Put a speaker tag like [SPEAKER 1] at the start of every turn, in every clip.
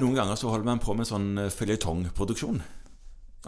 [SPEAKER 1] Noen ganger så holder man på med sånn eh, føljetongproduksjon.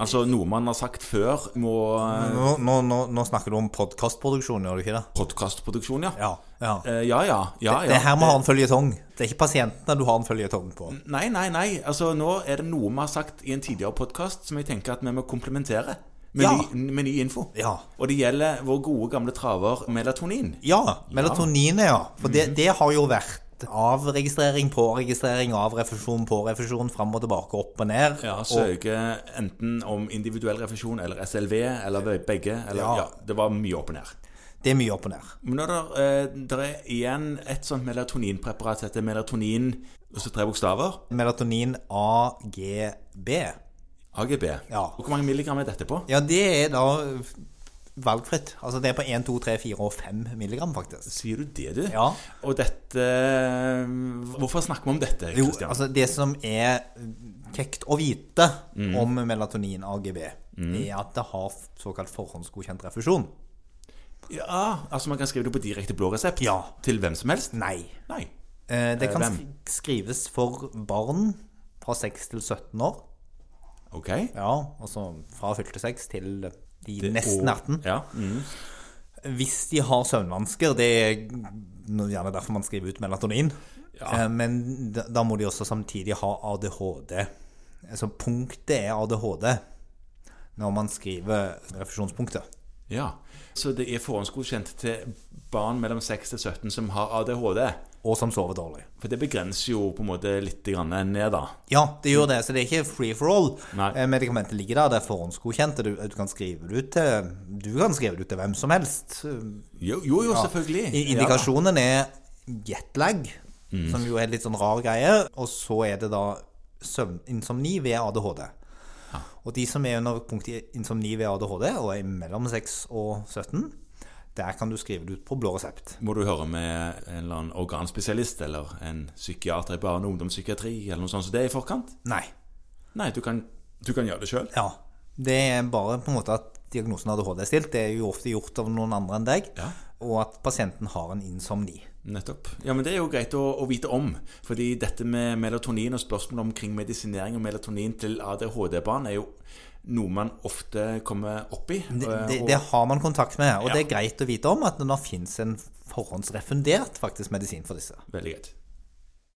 [SPEAKER 1] Altså noe man har sagt før, må eh,
[SPEAKER 2] Nå, nå, nå, nå snakker du om podkastproduksjon, gjør du ikke det?
[SPEAKER 1] Podkastproduksjon, ja.
[SPEAKER 2] Ja. ja.
[SPEAKER 1] Eh, Ja, ja. ja, ja.
[SPEAKER 2] Det her må ha en føljetong. Det er ikke pasientene du har en føljetong på.
[SPEAKER 1] Eh, Nei, nei, nei. Altså, nå er det noe vi har sagt i en tidligere podkast som jeg tenker at vi må komplementere med,
[SPEAKER 2] Ja.
[SPEAKER 1] ny, med ny info.
[SPEAKER 2] Ja.
[SPEAKER 1] Og det gjelder vår gode gamle traver melatonin.
[SPEAKER 2] Ja, Mhm. melatoninet, ja. For det, det har jo vært avregistrering, påregistrering, avrefusjon, pårefusjon, fram og tilbake, opp og ned.
[SPEAKER 1] Ja,
[SPEAKER 2] og,
[SPEAKER 1] Søke enten om individuell refusjon eller SLV eller begge. Eller,
[SPEAKER 2] Ja.
[SPEAKER 1] ja. det var mye opp og ned.
[SPEAKER 2] det er mye opp og ned.
[SPEAKER 1] Men når det, eh, der er igjen et sånt melatoninpreparat som heter melatonin og så tre bokstaver,
[SPEAKER 2] Melatonin AGB.
[SPEAKER 1] AGB.
[SPEAKER 2] Ja.
[SPEAKER 1] Og hvor mange milligram er dette på?
[SPEAKER 2] Ja, det er da valgfritt. Altså det er på 1, 2, 3, 4 og 5 milligram, faktisk.
[SPEAKER 1] Sier du det, du?
[SPEAKER 2] Ja.
[SPEAKER 1] Og dette eh, Hvorfor snakker vi om dette,
[SPEAKER 2] Jo,
[SPEAKER 1] Kristian?
[SPEAKER 2] altså det som er kjekt å vite
[SPEAKER 1] Mm.
[SPEAKER 2] om melatonin AGB, er at det har såkalt forhåndsgodkjent refusjon.
[SPEAKER 1] Ja, altså man kan skrive det på direkte blå resept
[SPEAKER 2] Ja.
[SPEAKER 1] til hvem som helst?
[SPEAKER 2] Nei.
[SPEAKER 1] Nei.
[SPEAKER 2] Eh, Det
[SPEAKER 1] Eh,
[SPEAKER 2] kan
[SPEAKER 1] hvem?
[SPEAKER 2] sk- skrives for barn fra 6 til 17 år.
[SPEAKER 1] Ok.
[SPEAKER 2] Ja, altså fra fylte 6 til de nesten
[SPEAKER 1] Og-
[SPEAKER 2] 18.
[SPEAKER 1] Ja. Mm.
[SPEAKER 2] Hvis de har søvnvansker, det er nå gjerne derfor man skriver ut melatonin.
[SPEAKER 1] Ja.
[SPEAKER 2] Eh, Men da, da må de også samtidig ha ADHD. Altså punktet er ADHD når man skriver refusjonspunktet.
[SPEAKER 1] ja. Så det er forhåndsgodkjent til barn mellom 6 til 17 som har ADHD?
[SPEAKER 2] Og som sover dårlig.
[SPEAKER 1] For det begrenser jo på en måte litt grann ned, da.
[SPEAKER 2] Ja, det gjør det, så det er ikke free for all.
[SPEAKER 1] Nei.
[SPEAKER 2] Eh, Medikamentet ligger der, det er forhåndsgodkjent. og Du, du kan skrive det ut til Du kan skrive det ut til hvem som helst.
[SPEAKER 1] Jo, jo, jo selvfølgelig.
[SPEAKER 2] I- Indikasjonen er jetlag,
[SPEAKER 1] Mm.
[SPEAKER 2] som jo er litt sånn rar greie. Og så er det da søvninsomni ved ADHD. Og de som er under punktet insomni ved ADHD, og er mellom 6 og 17, der kan du skrive det ut på blå resept.
[SPEAKER 1] Ja. Må du høre med en eller annen organspesialist eller en psykiater i barne- og ungdomspsykiatri eller noe sånt som det er i forkant?
[SPEAKER 2] Nei.
[SPEAKER 1] Nei, du kan, du kan gjøre det sjøl.
[SPEAKER 2] Ja. Det er bare på en måte at diagnosen ADHD er stilt. Det er jo ofte gjort av noen andre enn deg.
[SPEAKER 1] Ja.
[SPEAKER 2] Og at pasienten har en insomni.
[SPEAKER 1] Nettopp. Ja, men Det er jo greit å, å vite om. Fordi dette med melatonin og spørsmålet omkring medisinering og melatonin til ADHD-barn er jo noe man ofte kommer opp i. eh,
[SPEAKER 2] Det,
[SPEAKER 1] og-
[SPEAKER 2] det, det har man kontakt med, og
[SPEAKER 1] Ja.
[SPEAKER 2] det er greit å vite om at det nå fins en forhåndsrefundert faktisk medisin for disse.
[SPEAKER 1] Veldig greit.